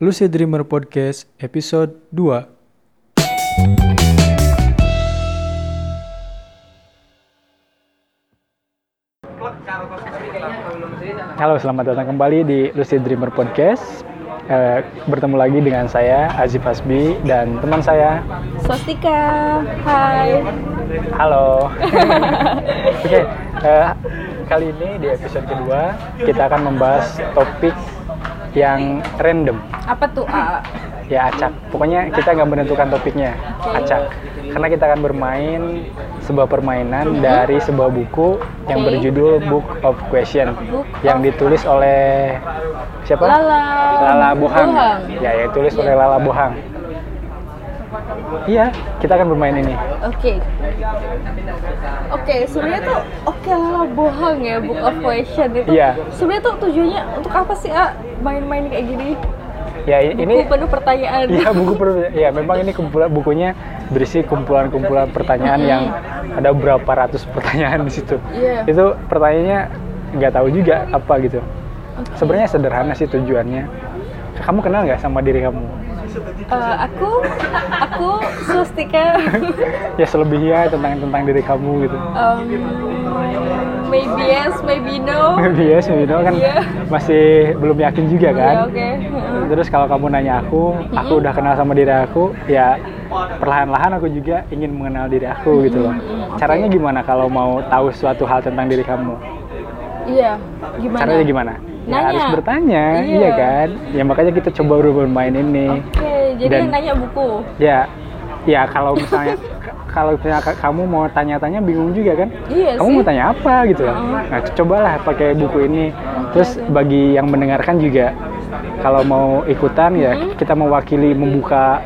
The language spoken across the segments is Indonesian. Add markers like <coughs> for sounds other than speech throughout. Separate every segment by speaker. Speaker 1: Lucid Dreamer Podcast episode 2. Halo, selamat datang kembali di Lucid Dreamer Podcast. Eh, bertemu lagi dengan saya Azif Hasbi dan teman saya.
Speaker 2: Swastika, hai.
Speaker 1: Halo. Oke, eh, kali ini di episode kedua kita akan membahas topik yang random.
Speaker 2: Apa tuh A?
Speaker 1: ya acak pokoknya kita nggak menentukan topiknya acak karena kita akan bermain sebuah permainan dari sebuah buku yang
Speaker 2: Mhm. Oke.
Speaker 1: berjudul Book of Question
Speaker 2: Book
Speaker 1: yang ditulis oleh siapa
Speaker 2: Lala.
Speaker 1: Lala Bohang
Speaker 2: Bohang.
Speaker 1: ya ya tulis oleh Lala Bohang iya kita akan bermain ini
Speaker 2: Oke. Oke, sebenarnya tuh oke lah bohong ya book of question itu.
Speaker 1: Iya.
Speaker 2: Sebenarnya tuh tujuannya untuk apa sih A main-main kayak gini?
Speaker 1: ya i-
Speaker 2: Buku
Speaker 1: ini
Speaker 2: penuh pertanyaan.
Speaker 1: Iya buku per- ya memang ini kumpulan bukunya berisi kumpulan-kumpulan pertanyaan yang ada berapa ratus pertanyaan di situ.
Speaker 2: Iya.
Speaker 1: Itu pertanyaannya nggak tahu juga apa gitu.
Speaker 2: Oke.
Speaker 1: Sebenarnya sederhana sih tujuannya. Kamu kenal nggak sama diri kamu?
Speaker 2: Eh, aku aku
Speaker 1: <laughs>
Speaker 2: Swastika
Speaker 1: Ya selebihnya tentang tentang diri kamu gitu. <laughs>
Speaker 2: um, maybe yes, maybe no.
Speaker 1: Bias, you know, kan
Speaker 2: Iya.
Speaker 1: masih belum yakin juga kan.
Speaker 2: Iya, oke. Heeh.
Speaker 1: Terus kalau kamu nanya aku, aku udah kenal sama diri aku, ya perlahan-lahan aku juga ingin mengenal diri aku gitu loh. Caranya gimana kalau mau tahu suatu hal tentang diri kamu?
Speaker 2: Iya. Gimana?
Speaker 1: Caranya gimana? Ya
Speaker 2: Nanya.
Speaker 1: harus bertanya,
Speaker 2: Iya.
Speaker 1: iya kan? Ya makanya kita coba bermain ini.
Speaker 2: Oke, jadi
Speaker 1: Dan-
Speaker 2: yang nanya buku.
Speaker 1: Ya, ya kalau
Speaker 2: <laughs>
Speaker 1: misalnya k- kalau misalnya k- kamu mau tanya-tanya bingung juga kan?
Speaker 2: Iya
Speaker 1: kamu
Speaker 2: sih.
Speaker 1: mau tanya apa gitu loh.
Speaker 2: Heeh.
Speaker 1: Nah, cobalah pakai buku ini. Terus
Speaker 2: oke.
Speaker 1: bagi yang mendengarkan juga kalau mau ikutan ya kita mewakili membuka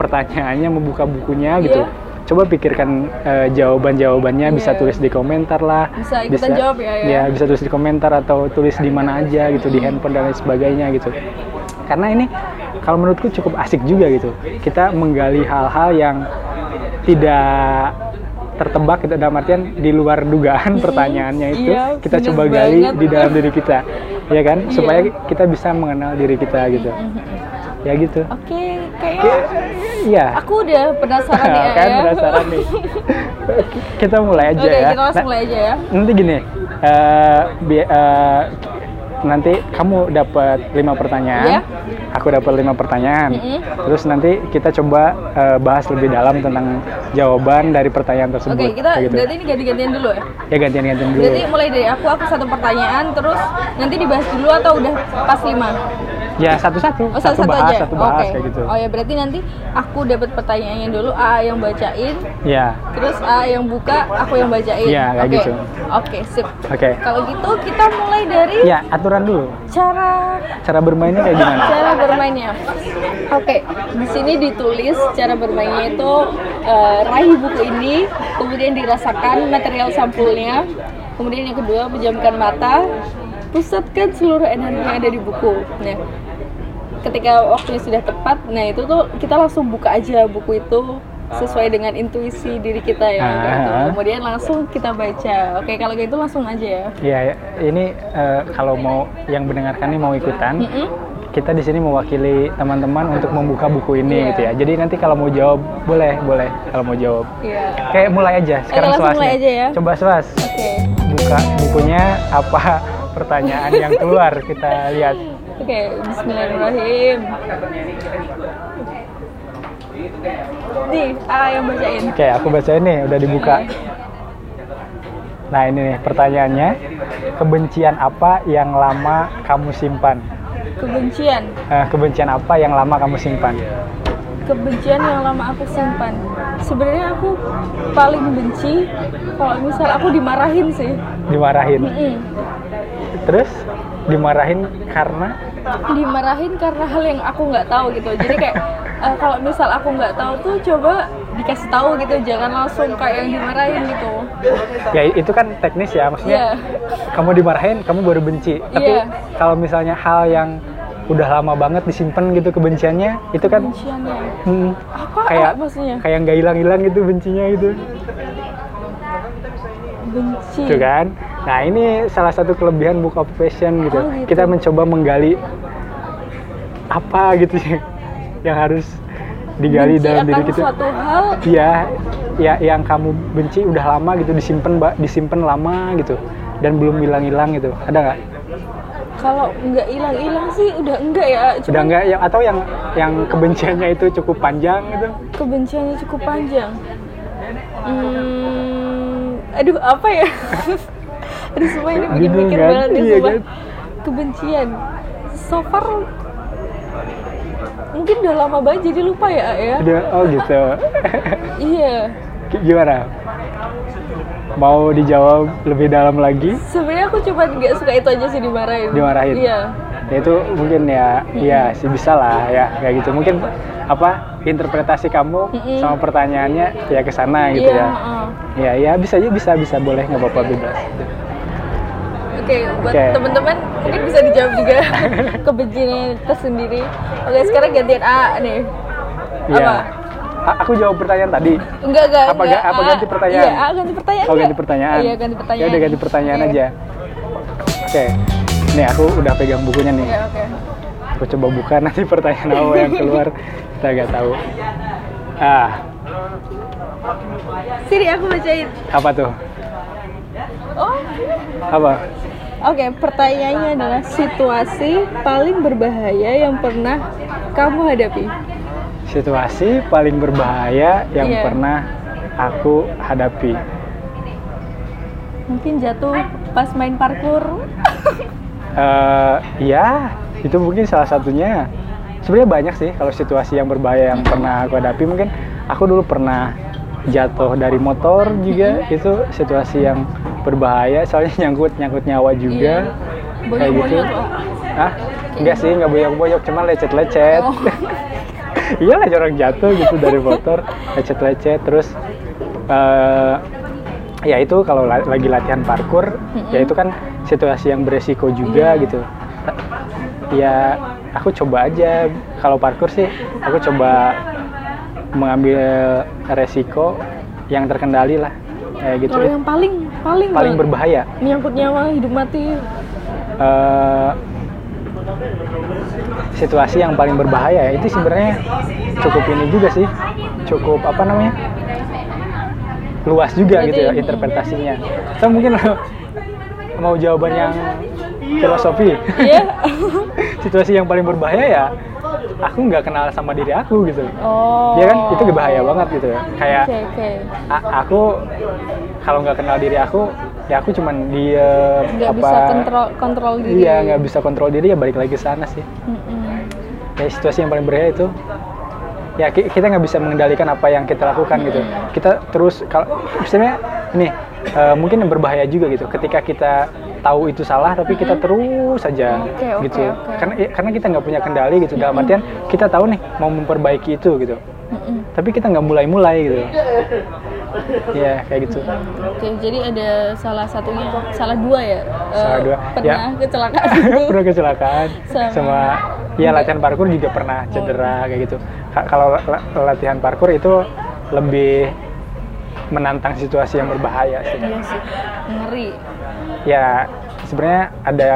Speaker 1: pertanyaannya, membuka bukunya gitu.
Speaker 2: Iya.
Speaker 1: Coba pikirkan eh, jawaban-jawabannya bisa
Speaker 2: Iya.
Speaker 1: tulis di komentar lah.
Speaker 2: Bisa ikutan jawab ya, ya.
Speaker 1: bisa tulis di komentar atau tulis di mana aja gitu di handphone dan lain sebagainya gitu. Karena ini kalau menurutku cukup asik juga gitu. Kita menggali hal-hal yang tidak tertebak gitu dalam artian di luar dugaan pertanyaannya itu
Speaker 2: iya,
Speaker 1: kita
Speaker 2: bener
Speaker 1: coba gali
Speaker 2: banget.
Speaker 1: di dalam diri kita ya kan
Speaker 2: Iya.
Speaker 1: supaya kita bisa mengenal diri kita gitu ya gitu
Speaker 2: Oke, kayaknya
Speaker 1: iya
Speaker 2: aku udah
Speaker 1: <laughs>
Speaker 2: penasaran nih ya.
Speaker 1: kan penasaran
Speaker 2: <laughs>
Speaker 1: nih kita mulai aja
Speaker 2: Oke,
Speaker 1: ya
Speaker 2: kita langsung
Speaker 1: Nah,
Speaker 2: mulai aja ya.
Speaker 1: nanti gini eh, bi- eh, nanti kamu dapat lima pertanyaan
Speaker 2: Iya.
Speaker 1: aku dapat lima pertanyaan
Speaker 2: Mm-mm.
Speaker 1: terus nanti kita coba eh, bahas lebih dalam tentang jawaban dari pertanyaan tersebut
Speaker 2: Oke, kita
Speaker 1: Kayak gitu.
Speaker 2: berarti ini ganti-gantian dulu ya.
Speaker 1: ya gantian-gantian dulu
Speaker 2: Berarti mulai dari aku, aku satu pertanyaan, terus nanti dibahas dulu atau udah pas lima?
Speaker 1: ya satu-satu
Speaker 2: Oh, satu-satu
Speaker 1: bahas
Speaker 2: aja?
Speaker 1: satu bahas
Speaker 2: Oke.
Speaker 1: kayak gitu
Speaker 2: Oh ya, berarti nanti aku dapat pertanyaannya dulu, A yang bacain,
Speaker 1: ya
Speaker 2: terus A yang buka, aku yang bacain.
Speaker 1: Iya, kayak
Speaker 2: Oke.
Speaker 1: gitu.
Speaker 2: Oke, sip.
Speaker 1: oke
Speaker 2: Kalau gitu kita mulai dari
Speaker 1: ya aturan dulu
Speaker 2: cara
Speaker 1: cara bermainnya kayak gimana
Speaker 2: <laughs> cara bermainnya. Oke, di sini ditulis cara bermainnya itu eh, raih buku ini, kemudian dirasakan material sampulnya, kemudian yang kedua pejamkan mata, pusatkan seluruh energi yang ada di buku. Nah, ketika waktunya sudah tepat, nah itu tuh kita langsung buka aja buku itu sesuai dengan intuisi diri kita ya.
Speaker 1: Ah.
Speaker 2: gitu. Kemudian langsung kita baca. Oke, kalau gitu langsung aja ya.
Speaker 1: ya ini eh, kalau mau yang mendengarkan nih mau ikutan
Speaker 2: Mm-mm.
Speaker 1: kita di sini mewakili teman-teman untuk membuka buku ini
Speaker 2: Iya.
Speaker 1: gitu ya. Jadi nanti kalau mau jawab boleh, boleh kalau mau jawab.
Speaker 2: Iya.
Speaker 1: Kayak mulai aja sekarang
Speaker 2: langsung
Speaker 1: Suas
Speaker 2: mulai
Speaker 1: nih.
Speaker 2: aja ya.
Speaker 1: Coba Suas
Speaker 2: Oke.
Speaker 1: buka bukunya apa <laughs> pertanyaan yang keluar kita lihat.
Speaker 2: Oke, bismillahirrahmanirrahim. Nih, ah yang bacain.
Speaker 1: Oke, aku bacain nih udah dibuka. Nah, ini nih pertanyaannya. Kebencian apa yang lama kamu simpan?
Speaker 2: Kebencian.
Speaker 1: Eh, kebencian apa yang lama kamu simpan?
Speaker 2: Kebencian yang lama aku simpan. Sebenarnya aku paling benci kalau misal aku dimarahin sih.
Speaker 1: Dimarahin.
Speaker 2: Mm-mm.
Speaker 1: Terus dimarahin karena
Speaker 2: Dimarahin karena hal yang aku nggak tahu gitu. Jadi kayak <laughs> eh, kalau misal aku nggak tahu tuh coba dikasih tahu gitu, jangan langsung kayak yang dimarahin gitu.
Speaker 1: ya itu kan teknis ya maksudnya
Speaker 2: Iya.
Speaker 1: kamu dimarahin, kamu baru benci. Tapi
Speaker 2: Iya.
Speaker 1: kalau misalnya hal yang udah lama banget disimpan gitu kebenciannya, itu kan
Speaker 2: Kebenciannya.
Speaker 1: hmm,
Speaker 2: Apa
Speaker 1: kayak
Speaker 2: maksudnya?
Speaker 1: kayak nggak hilang-hilang gitu bencinya gitu,
Speaker 2: Iya. Benci.
Speaker 1: Tuh kan? Nah ini salah satu kelebihan book of passion gitu.
Speaker 2: Oh, gitu.
Speaker 1: Kita mencoba menggali apa gitu sih yang harus digali
Speaker 2: Benci
Speaker 1: dalam diri
Speaker 2: akan
Speaker 1: kita
Speaker 2: suatu hal
Speaker 1: Iya, ya yang kamu benci udah lama gitu disimpan mbak, disimpan lama gitu dan belum hilang-hilang gitu. Ada nggak?
Speaker 2: kalau nggak hilang-hilang sih udah enggak ya
Speaker 1: Udah
Speaker 2: cuma
Speaker 1: nggak? Ya, atau yang yang kebenciannya itu cukup panjang gitu?
Speaker 2: kebenciannya cukup panjang hmm, aduh apa ya <laughs> aduh semua ini bikin
Speaker 1: Bingung
Speaker 2: mikir
Speaker 1: kan?
Speaker 2: banget nih
Speaker 1: Iya
Speaker 2: sumpah.
Speaker 1: kan?
Speaker 2: kebencian so far mungkin udah lama banget jadi lupa ya A, ya
Speaker 1: Udah, oh gitu.
Speaker 2: iya
Speaker 1: Ki- Gimana? Mau dijawab lebih dalam lagi?
Speaker 2: sebenarnya aku cuma nggak suka itu aja sih dimarahin
Speaker 1: Dimarahin?
Speaker 2: iya
Speaker 1: Ya itu mungkin ya, ya sih bisa lah ya kayak gitu. Mungkin apa interpretasi kamu
Speaker 2: Mm-mm.
Speaker 1: sama pertanyaannya ya ke sana gitu
Speaker 2: iya
Speaker 1: ya.
Speaker 2: heeh.
Speaker 1: Ya, ya bisa aja bisa bisa boleh nggak apa-apa bebas.
Speaker 2: Oke, buat
Speaker 1: Oke.
Speaker 2: teman-teman mungkin bisa dijawab
Speaker 1: <laughs>
Speaker 2: juga kebencian tersendiri. Oke, sekarang gantian A nih. Apa?
Speaker 1: Iya. A- Aku jawab pertanyaan tadi.
Speaker 2: Enggak, enggak,
Speaker 1: Apa
Speaker 2: enggak.
Speaker 1: ga- apa
Speaker 2: A.
Speaker 1: ganti pertanyaan?
Speaker 2: Iya, A ganti pertanyaan.
Speaker 1: Oh,
Speaker 2: enggak?
Speaker 1: ganti pertanyaan.
Speaker 2: Iya, ganti pertanyaan. Iya.
Speaker 1: Ya udah ganti pertanyaan
Speaker 2: Oke.
Speaker 1: aja. Oke. Nih aku udah pegang bukunya nih.
Speaker 2: Iya, oke.
Speaker 1: Aku coba buka nanti pertanyaan awal yang keluar. Kita nggak tahu. Ah,
Speaker 2: Siri aku bacain.
Speaker 1: apa tuh?
Speaker 2: Oh.
Speaker 1: Apa?
Speaker 2: Oke, pertanyaannya adalah situasi paling berbahaya yang pernah kamu hadapi.
Speaker 1: Situasi paling berbahaya yang
Speaker 2: Iya.
Speaker 1: pernah aku hadapi.
Speaker 2: Mungkin jatuh pas main parkur.
Speaker 1: Eh, ya, itu mungkin salah satunya. Sebenarnya banyak sih kalau situasi yang berbahaya yang pernah aku hadapi. Mungkin aku dulu pernah jatuh dari motor juga. Itu situasi yang berbahaya. Soalnya nyangkut nyangkut nyawa juga.
Speaker 2: Iya. Boyok-boyok
Speaker 1: gitu.
Speaker 2: loh.
Speaker 1: Hah? Enggak sih, nggak boyok-boyok, cuman lecet-lecet. <laughs>
Speaker 2: Oh.
Speaker 1: Iyalah orang jatuh gitu dari motor, lecet-lecet terus eh, ya itu kalau la- lagi latihan parkur ya itu kan situasi yang beresiko
Speaker 2: Iya.
Speaker 1: juga gitu ya aku coba aja kalau parkur sih aku coba mengambil resiko yang terkendali lah kayak gitu
Speaker 2: Kalau yang paling paling
Speaker 1: paling
Speaker 2: banget.
Speaker 1: berbahaya
Speaker 2: menyangkut nyawa hidup
Speaker 1: <laughs>
Speaker 2: mati
Speaker 1: eh, situasi yang paling berbahaya ya itu sebenarnya cukup ini juga sih cukup apa namanya luas juga
Speaker 2: Berarti
Speaker 1: gitu ya
Speaker 2: ini.
Speaker 1: interpretasinya so mungkin <laughs> lo mau jawaban yang filosofi <laughs>
Speaker 2: Iya.
Speaker 1: situasi yang paling berbahaya ya aku nggak kenal sama diri aku gitu
Speaker 2: Oh.
Speaker 1: Iya kan itu bahaya banget gitu ya kayak
Speaker 2: Oke, oke.
Speaker 1: A- aku kalau nggak kenal diri aku ya aku cuman diem
Speaker 2: Nggak
Speaker 1: apa
Speaker 2: bisa kontrol kontrol diri.
Speaker 1: iya nggak bisa kontrol diri ya balik lagi ke sana sih
Speaker 2: Mm-mm.
Speaker 1: ya situasi yang paling berbahaya itu ya ki- kita nggak bisa mengendalikan apa yang kita lakukan gitu kita terus kalau misalnya ini eh, mungkin yang berbahaya juga gitu ketika kita tahu itu salah tapi kita terus saja
Speaker 2: Oke, oke,
Speaker 1: gitu
Speaker 2: oke.
Speaker 1: karena ya, karena kita nggak punya kendali gitu dalam artian kita tahu nih mau memperbaiki itu gitu
Speaker 2: Mm-mm.
Speaker 1: tapi kita nggak mulai-mulai gitu ya kayak gitu
Speaker 2: Oke, jadi ada salah satunya, salah dua ya. Eh,
Speaker 1: Salah dua,
Speaker 2: Pernah
Speaker 1: ya. <laughs>
Speaker 2: kecelakaan itu.
Speaker 1: pernah kecelakaan
Speaker 2: Sama-
Speaker 1: sama, ya latihan parkur juga pernah cedera kayak gitu Ka- kalau la- la- latihan parkur itu lebih menantang situasi yang berbahaya sih
Speaker 2: Iya sih. Ngeri.
Speaker 1: ya sebenarnya ada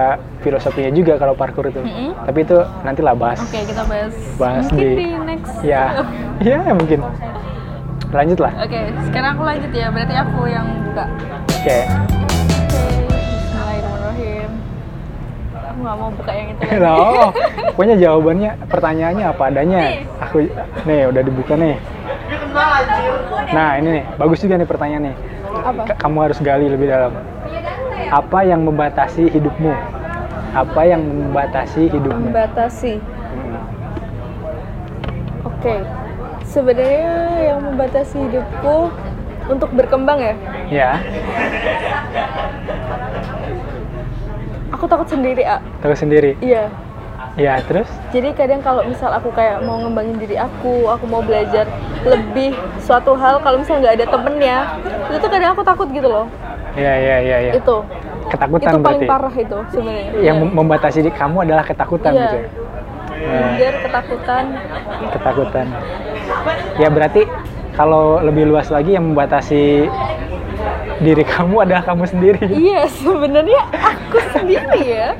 Speaker 1: filosofinya juga kalau parkur itu
Speaker 2: Mm-mm.
Speaker 1: tapi itu nantilah bahas
Speaker 2: Oke, kita bahas,
Speaker 1: Bahas
Speaker 2: mungkin
Speaker 1: di-
Speaker 2: di, next.
Speaker 1: ya ya mungkin lanjut lah
Speaker 2: <laughs> Oke, sekarang aku lanjut ya. Berarti aku yang buka.
Speaker 1: oke <laughs>
Speaker 2: Oke. Bismillahirrahmanirrahim. Aku nggak mau buka yang itu. lagi.
Speaker 1: Loh, oh. pokoknya jawabannya, pertanyaannya apa adanya. Aku, nih udah dibuka nih. Nah ini nih, bagus juga nih pertanyaannya.
Speaker 2: Apa?
Speaker 1: Ka- Kamu harus gali lebih dalam. Apa yang membatasi hidupmu? Apa yang membatasi hidupmu?
Speaker 2: Membatasi.
Speaker 1: Hmm.
Speaker 2: Oke, sebenarnya yang membatasi hidupku untuk berkembang ya.
Speaker 1: Ya,
Speaker 2: Aku takut sendiri, A.
Speaker 1: terus sendiri.
Speaker 2: Iya.
Speaker 1: Ya, terus?
Speaker 2: Jadi kadang kalau misal aku kayak mau ngembangin diri aku, aku mau belajar lebih suatu hal, kalau misal nggak ada temennya, itu tuh kadang aku takut gitu loh.
Speaker 1: Ya, ya, ya, ya.
Speaker 2: Itu, itu
Speaker 1: Ketakutan berarti.
Speaker 2: paling parah itu sebenarnya.
Speaker 1: Yang mem- membatasi diri kamu adalah ketakutan
Speaker 2: Iya.
Speaker 1: gitu ya? Ya.
Speaker 2: Biar ketakutan.
Speaker 1: ketakutan. Ya berarti kalau lebih luas lagi yang membatasi diri kamu adalah kamu sendiri. <laughs>
Speaker 2: Iya, sebenarnya aku sendiri ya.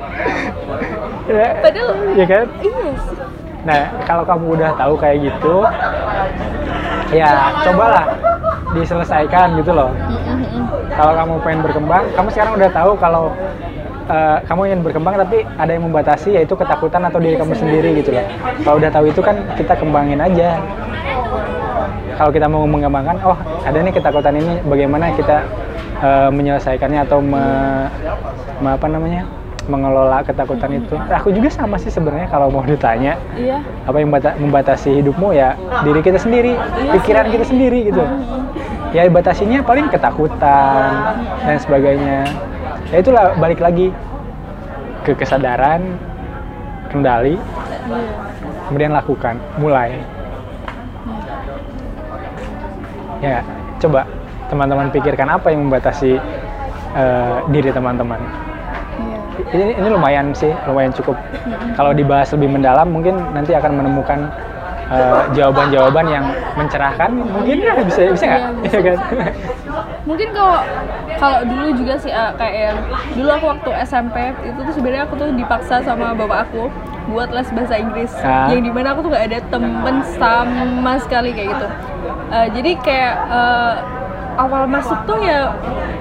Speaker 1: Ya,
Speaker 2: Padahal
Speaker 1: ya kan?
Speaker 2: Iya sih.
Speaker 1: Nah, kalau kamu udah tahu kayak gitu, ya cobalah diselesaikan gitu loh. Kalau kamu pengen berkembang, kamu sekarang udah tahu kalau eh, kamu ingin berkembang tapi ada yang membatasi yaitu ketakutan atau diri kamu sendiri gitu loh. Kalau udah tahu itu kan kita kembangin aja. Kalau kita mau mengembangkan, oh ada nih ketakutan ini, bagaimana kita eh, menyelesaikannya atau me- me- apa namanya mengelola ketakutan itu. Aku juga sama sih sebenarnya kalau mau ditanya
Speaker 2: Iya.
Speaker 1: apa yang bata- membatasi hidupmu ya diri kita sendiri, pikiran kita sendiri gitu. Ya batasinya paling ketakutan dan sebagainya. Ya itulah balik lagi ke kesadaran, kendali,
Speaker 2: Iya.
Speaker 1: kemudian lakukan, mulai. Ya, coba teman-teman pikirkan apa yang membatasi eh, diri teman-teman
Speaker 2: Iya.
Speaker 1: ini, ini lumayan sih, lumayan cukup. Kalau dibahas lebih mendalam, mungkin nanti akan menemukan eh, jawaban-jawaban yang mencerahkan. Mungkin ya, bisa bisa nggak?
Speaker 2: Iya, bisa,
Speaker 1: Iya kan?
Speaker 2: mungkin kalau kalau dulu juga sih ah, kayak yang dulu aku waktu SMP itu tuh sebenarnya aku tuh dipaksa sama bapak aku buat les bahasa Inggris
Speaker 1: Ah.
Speaker 2: yang dimana aku tuh gak ada temen sama sekali kayak gitu Eh, jadi kayak eh, awal masuk tuh ya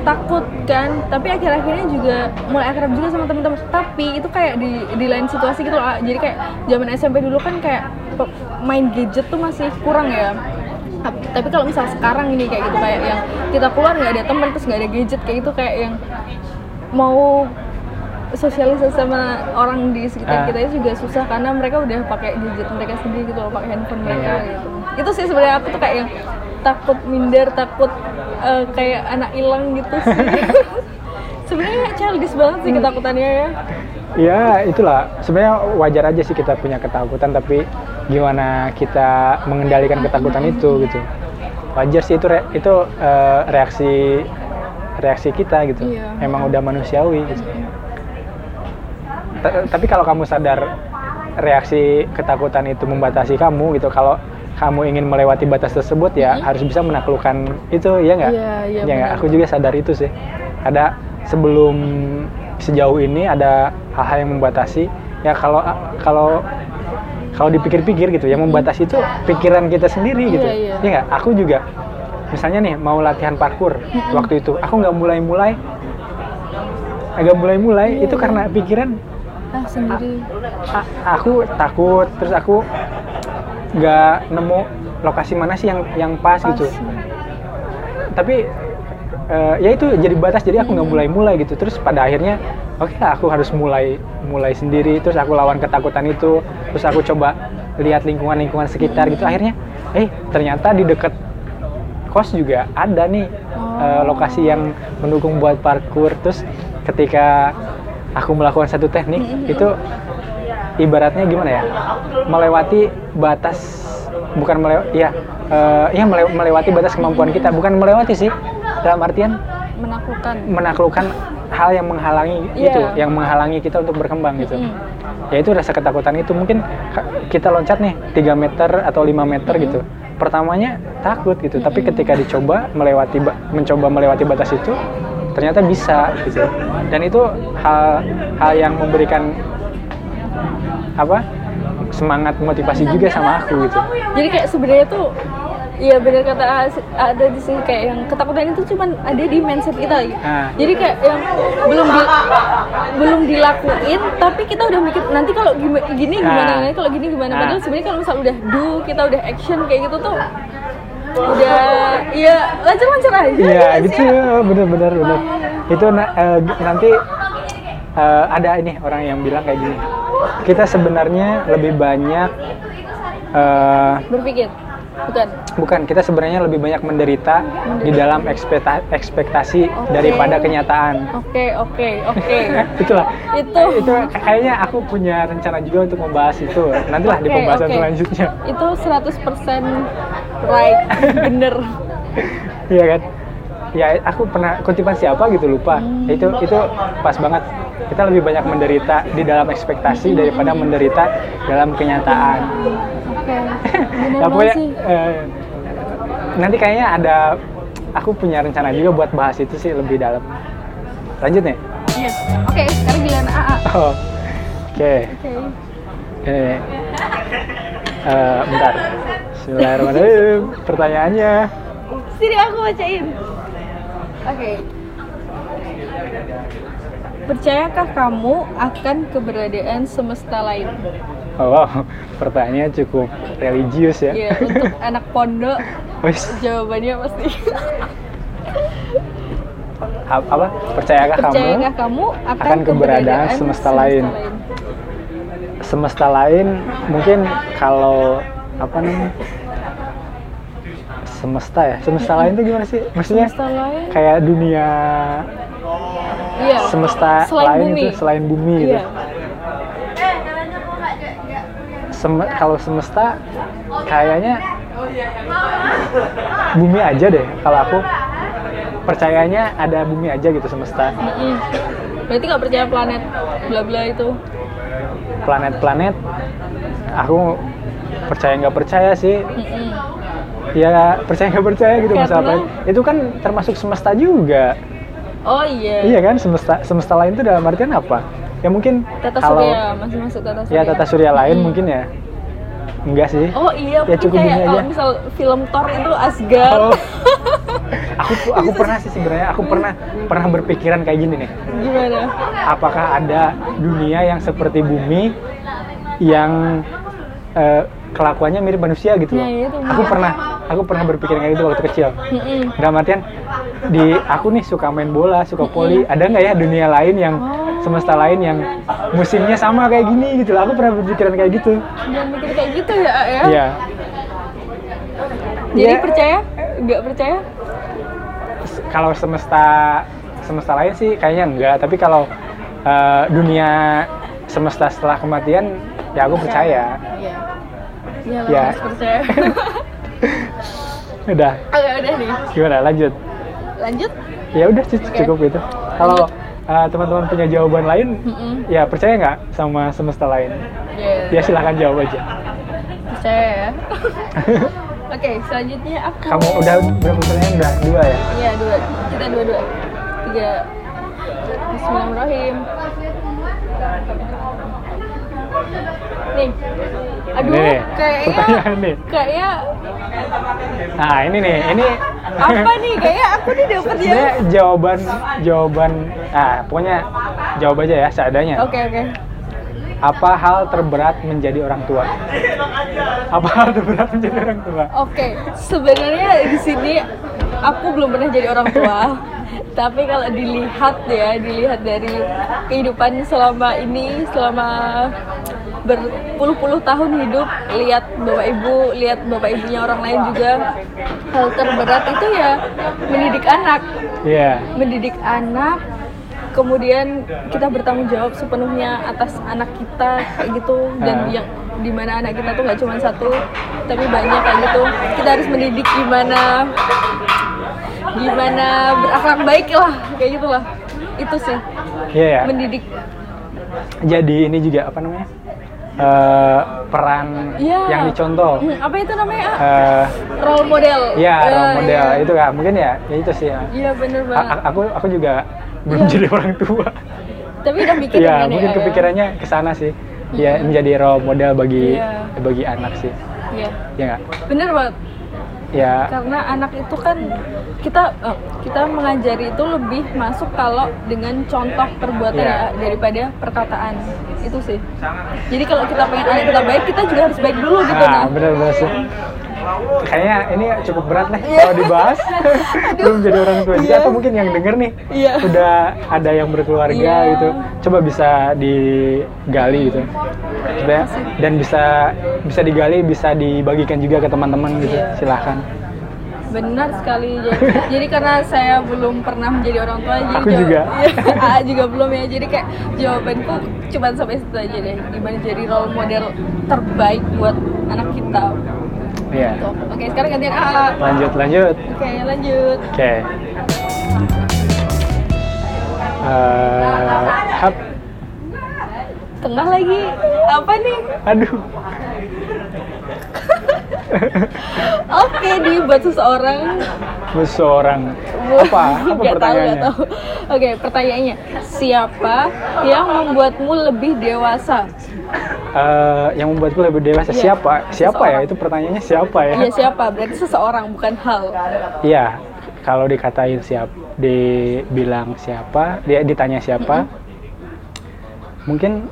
Speaker 2: takut kan tapi akhir-akhirnya juga mulai akrab juga sama temen-temen tapi itu kayak di di lain situasi gitu loh ah. jadi kayak zaman SMP dulu kan kayak pe- main gadget tuh masih kurang ya Ap- tapi kalau misal sekarang ini kayak gitu kayak yang kita keluar nggak ada teman terus nggak ada gadget kayak gitu kayak yang mau sosialisasi sama orang di
Speaker 1: Ah.
Speaker 2: sekitar kita itu juga susah karena mereka udah pakai gadget mereka sendiri gitu loh pakai handphone mereka
Speaker 1: Iya.
Speaker 2: gitu itu sih sebenarnya aku tuh kayak yang takut minder takut eh, kayak anak hilang gitu sih <laughs> sebenarnya childish banget
Speaker 1: Hmm.
Speaker 2: sih ketakutannya ya
Speaker 1: Iya, itulah. Sebenarnya wajar aja sih kita punya ketakutan, tapi gimana kita mengendalikan ketakutan itu gitu. Wajar sih itu re- itu eh, reaksi reaksi kita gitu.
Speaker 2: Iya.
Speaker 1: Emang udah manusiawi gitu. Ta- tapi kalau kamu sadar reaksi ketakutan itu membatasi kamu gitu kalau kamu ingin melewati batas tersebut ya harus bisa menaklukkan itu ya nggak
Speaker 2: Iya, iya,
Speaker 1: Ya nggak?
Speaker 2: benar.
Speaker 1: aku juga sadar itu sih ada sebelum sejauh ini ada hal-hal yang membatasi ya kalau kalau kalau dipikir-pikir gitu yang membatasi itu pikiran kita sendiri gitu
Speaker 2: Iya, iya.
Speaker 1: ya nggak aku juga misalnya nih mau latihan parkur waktu itu aku nggak mulai-mulai agak
Speaker 2: Iya,
Speaker 1: mulai-mulai itu karena pikiran
Speaker 2: ah sendiri
Speaker 1: "A- aku takut terus aku nggak nemu lokasi mana sih yang yang pas,
Speaker 2: pas
Speaker 1: gitu tapi eh, ya itu jadi batas jadi aku nggak mulai-mulai gitu terus pada akhirnya oke lah aku harus mulai mulai sendiri terus aku lawan ketakutan itu terus aku coba lihat lingkungan-lingkungan sekitar gitu akhirnya eh ternyata di dekat kos juga ada nih eh, lokasi yang mendukung buat parkur terus ketika aku melakukan satu teknik itu ibaratnya gimana ya melewati batas bukan melewati ya eh, ya melew- melewati batas kemampuan kita bukan melewati sih dalam artian
Speaker 2: menaklukkan
Speaker 1: menaklukkan hal yang menghalangi
Speaker 2: Iya.
Speaker 1: itu yang menghalangi kita untuk berkembang gitu
Speaker 2: Mm.
Speaker 1: ya itu rasa ketakutan itu mungkin ka- kita loncat nih 3 meter atau 5 meter gitu pertamanya takut gitu tapi ketika dicoba melewati ba- mencoba melewati batas itu ternyata bisa gitu dan itu hal hal yang memberikan apa semangat motivasi juga sama aku gitu
Speaker 2: jadi kayak sebenarnya tuh Iya benar kata As- ada di sini kayak yang ketakutan itu cuman ada di mindset kita gitu.
Speaker 1: Ah.
Speaker 2: Jadi kayak yang belum di- belum dilakuin tapi kita udah mikir nanti kalau gima- gini gimana
Speaker 1: Ah.
Speaker 2: nanti kalau gini gimana
Speaker 1: Ah.
Speaker 2: padahal sebenarnya kalau misal udah do kita udah action kayak gitu tuh udah iya lancar-lancar
Speaker 1: Iya
Speaker 2: aja. nggak
Speaker 1: gitu,
Speaker 2: sih?
Speaker 1: bener-bener bener. Itu na- eh, g- nanti eh, ada ini orang yang bilang kayak gini. Kita sebenarnya lebih banyak eh,
Speaker 2: Berpikir. Bukan.
Speaker 1: bukan kita sebenarnya lebih banyak menderita di dalam ekspekta- ekspektasi
Speaker 2: Oke.
Speaker 1: daripada kenyataan. Eh,
Speaker 2: Oke, oke,
Speaker 1: <laughs>
Speaker 2: oke.
Speaker 1: Itulah.
Speaker 2: Itu
Speaker 1: Itu kayaknya aku punya rencana juga untuk membahas itu. Nantilah di
Speaker 2: Oke,
Speaker 1: pembahasan
Speaker 2: oke.
Speaker 1: selanjutnya.
Speaker 2: itu 100% right, bener.
Speaker 1: Iya kan? Ya aku pernah kutipan siapa gitu lupa. Itu itu pas banget. Kita lebih banyak menderita di dalam ekspektasi daripada menderita dalam kenyataan.
Speaker 2: Oke, bener
Speaker 1: Ya,
Speaker 2: banget
Speaker 1: pokoknya,
Speaker 2: sih.
Speaker 1: eh, nanti kayaknya ada aku punya rencana juga buat bahas itu sih lebih dalam. Lanjut nih. <laughs>
Speaker 2: Iya. Oke, sekarang giliran AA. Oke.
Speaker 1: Oh. Oke. Eh, Eh, bentar. Bismillahirrahmanirrahim. Pertanyaannya.
Speaker 2: Sini aku bacain. Oke. Percayakah kamu akan keberadaan semesta lain?
Speaker 1: Oh, wow, pertanyaannya cukup religius ya.
Speaker 2: Ya,
Speaker 1: <laughs>
Speaker 2: untuk anak pondok
Speaker 1: Wis,
Speaker 2: jawabannya pasti.
Speaker 1: a- apa? Percayakah kamu
Speaker 2: Percayakah kamu akan,
Speaker 1: akan keberadaan semesta lain? semesta lain mungkin kalau apa namanya? Semesta ya. Semesta lain itu gimana sih? Maksudnya
Speaker 2: Semesta lain?
Speaker 1: kayak dunia
Speaker 2: Iya.
Speaker 1: semesta
Speaker 2: Selain
Speaker 1: lain
Speaker 2: bumi.
Speaker 1: itu selain bumi gitu.
Speaker 2: Iya.
Speaker 1: Sem- kalau semesta kayaknya bumi aja deh kalau aku percayanya ada bumi aja gitu semesta
Speaker 2: Mm-mm. Berarti nggak percaya planet bla bla itu?
Speaker 1: planet-planet aku percaya nggak percaya sih
Speaker 2: Mm-mm.
Speaker 1: ya percaya nggak percaya gitu
Speaker 2: Karena-
Speaker 1: masalah itu kan termasuk semesta juga
Speaker 2: Oh iya.
Speaker 1: iya kan semesta semesta lain itu dalam artian apa ya mungkin
Speaker 2: Tata
Speaker 1: kalau
Speaker 2: surya masih masuk tata surya.
Speaker 1: ya tata surya lain
Speaker 2: Mm.
Speaker 1: mungkin ya enggak sih
Speaker 2: Oh
Speaker 1: Ya,
Speaker 2: iya, mungkin
Speaker 1: cukup
Speaker 2: kayak
Speaker 1: gini
Speaker 2: kalau
Speaker 1: aja.
Speaker 2: misal film Thor itu Asgard. <laughs>
Speaker 1: Oh. aku aku pernah sih sebenarnya
Speaker 2: Hmm.
Speaker 1: aku pernah pernah berpikiran kayak gini nih
Speaker 2: Gimana?
Speaker 1: apakah ada dunia yang seperti bumi yang eh, kelakuannya mirip manusia gitu loh.
Speaker 2: Nah, iya tuh.
Speaker 1: aku pernah aku pernah berpikiran kayak gitu waktu kecil.
Speaker 2: Mm-mm.
Speaker 1: Dalam artian di aku nih suka main bola, suka poli, ada nggak ya dunia lain yang
Speaker 2: Mm-hmm. Oh.
Speaker 1: semesta lain yang musimnya sama kayak gini gitu loh. Aku pernah berpikiran kayak gitu.
Speaker 2: Jangan mikir kayak gitu ya, A, ya.
Speaker 1: Iya.
Speaker 2: Jadi
Speaker 1: Iya.
Speaker 2: percaya? Nggak percaya?
Speaker 1: Kalau semesta semesta lain sih kayaknya enggak, tapi kalau eh, dunia semesta setelah kematian ya aku percaya.
Speaker 2: Iya. Iya, lah,
Speaker 1: Ya.
Speaker 2: harus
Speaker 1: <laughs>
Speaker 2: percaya.
Speaker 1: Udah,
Speaker 2: Oke, udah nih.
Speaker 1: gimana lanjut?
Speaker 2: Lanjut.
Speaker 1: Ya udah cu-
Speaker 2: Oke.
Speaker 1: cukup itu. Kalau uh, teman-teman punya jawaban lain,
Speaker 2: Mm-mm.
Speaker 1: ya percaya nggak sama semesta lain?
Speaker 2: Iya.
Speaker 1: Ya silahkan jawab aja.
Speaker 2: Percaya
Speaker 1: <laughs>
Speaker 2: ya. Oke, selanjutnya aku.
Speaker 1: Kamu udah berapa pertanyaan? Udah dua ya?
Speaker 2: Iya, dua. Kita dua-dua. Tiga. Bismillahirrahmanirrahim. Nih. Aduh,
Speaker 1: Ini nih,
Speaker 2: kayaknya
Speaker 1: pertanyaan nih.
Speaker 2: kayaknya
Speaker 1: Nah ini nih, ini <laughs>
Speaker 2: apa nih? Kayaknya aku nih dapet ya.
Speaker 1: sebenarnya jawaban jawaban ah pokoknya jawab aja ya seadanya.
Speaker 2: Oke, oke.
Speaker 1: Apa hal terberat menjadi orang tua? Apa hal terberat menjadi orang tua?
Speaker 2: Oke, sebenarnya di sini aku belum pernah jadi orang tua. Tapi kalau dilihat ya, dilihat dari kehidupan selama ini, selama berpuluh-puluh tahun hidup, lihat bapak ibu, lihat bapak ibunya orang lain juga, hal terberat itu ya mendidik anak,
Speaker 1: Iya.
Speaker 2: mendidik anak, kemudian kita bertanggung jawab sepenuhnya atas anak kita kayak gitu dan
Speaker 1: Ah.
Speaker 2: yang dimana anak kita tuh nggak cuma satu tapi banyak kayak gitu kita harus mendidik gimana gimana berakhlak baik lah kayak gitu lah itu sih
Speaker 1: Iya ya.
Speaker 2: mendidik
Speaker 1: Jadi ini juga apa namanya? Eh, peran
Speaker 2: Iya.
Speaker 1: yang dicontoh.
Speaker 2: Hmm, apa itu namanya Ah,
Speaker 1: Eh,
Speaker 2: role model
Speaker 1: Iya, role model
Speaker 2: iya.
Speaker 1: itu kan mungkin ya, ya itu sih. Ya.
Speaker 2: iya bener
Speaker 1: A-
Speaker 2: banget
Speaker 1: a- aku aku juga belum
Speaker 2: Iya.
Speaker 1: jadi orang tua.
Speaker 2: tapi udah mikir
Speaker 1: Iya,
Speaker 2: kan
Speaker 1: mungkin
Speaker 2: ya?
Speaker 1: kepikirannya ke sana sih. Ya menjadi role model bagi
Speaker 2: Iya.
Speaker 1: bagi anak sih.
Speaker 2: iya
Speaker 1: Ya nggak?
Speaker 2: bener banget
Speaker 1: Ya
Speaker 2: karena anak itu kan kita eh, kita mengajari itu lebih masuk kalau dengan contoh perbuatan
Speaker 1: Iya.
Speaker 2: ya, daripada perkataan itu sih jadi kalau kita pengen anak kita baik kita juga harus baik dulu gitu
Speaker 1: ah,
Speaker 2: nah
Speaker 1: benar benar sih. Kayaknya ini cukup berat nih
Speaker 2: Iya.
Speaker 1: kalau
Speaker 2: <laughs>
Speaker 1: dibahas. belum jadi orang tua. Jadi
Speaker 2: Iya.
Speaker 1: atau mungkin yang denger nih
Speaker 2: Iya.
Speaker 1: udah ada yang berkeluarga
Speaker 2: Iya.
Speaker 1: gitu. Coba bisa digali gitu. Sebenarnya, dan bisa bisa digali, bisa dibagikan juga ke teman-teman gitu.
Speaker 2: Iya.
Speaker 1: Silahkan.
Speaker 2: benar sekali jadi, jadi karena saya belum pernah menjadi orang tua jadi
Speaker 1: Aku
Speaker 2: jawa-
Speaker 1: juga.
Speaker 2: <laughs> Iya, Aa juga belum ya jadi kayak jawabanku cuma sampai situ aja deh gimana jadi role model terbaik buat anak kita
Speaker 1: Iya.
Speaker 2: Tuh. oke sekarang gantian AA
Speaker 1: Lanjut, lanjut.
Speaker 2: oke lanjut
Speaker 1: Oke. Eh, hap.
Speaker 2: tengah lagi apa nih
Speaker 1: Aduh.
Speaker 2: Oke, di buat seseorang
Speaker 1: Lu seorang.
Speaker 2: <laughs> Wah,
Speaker 1: Apa? Apa
Speaker 2: nggak tahu, nggak
Speaker 1: pertanyaannya?
Speaker 2: tahu. Oke, pertanyaannya siapa yang membuatmu lebih dewasa?
Speaker 1: eh, yang membuatku lebih dewasa
Speaker 2: Iya.
Speaker 1: siapa siapa ya
Speaker 2: Seseorang.
Speaker 1: itu pertanyaannya siapa ya
Speaker 2: Iya siapa? Berarti seseorang bukan hal.
Speaker 1: iya kalau dikatain siap dibilang siapa dia ditanya siapa mungkin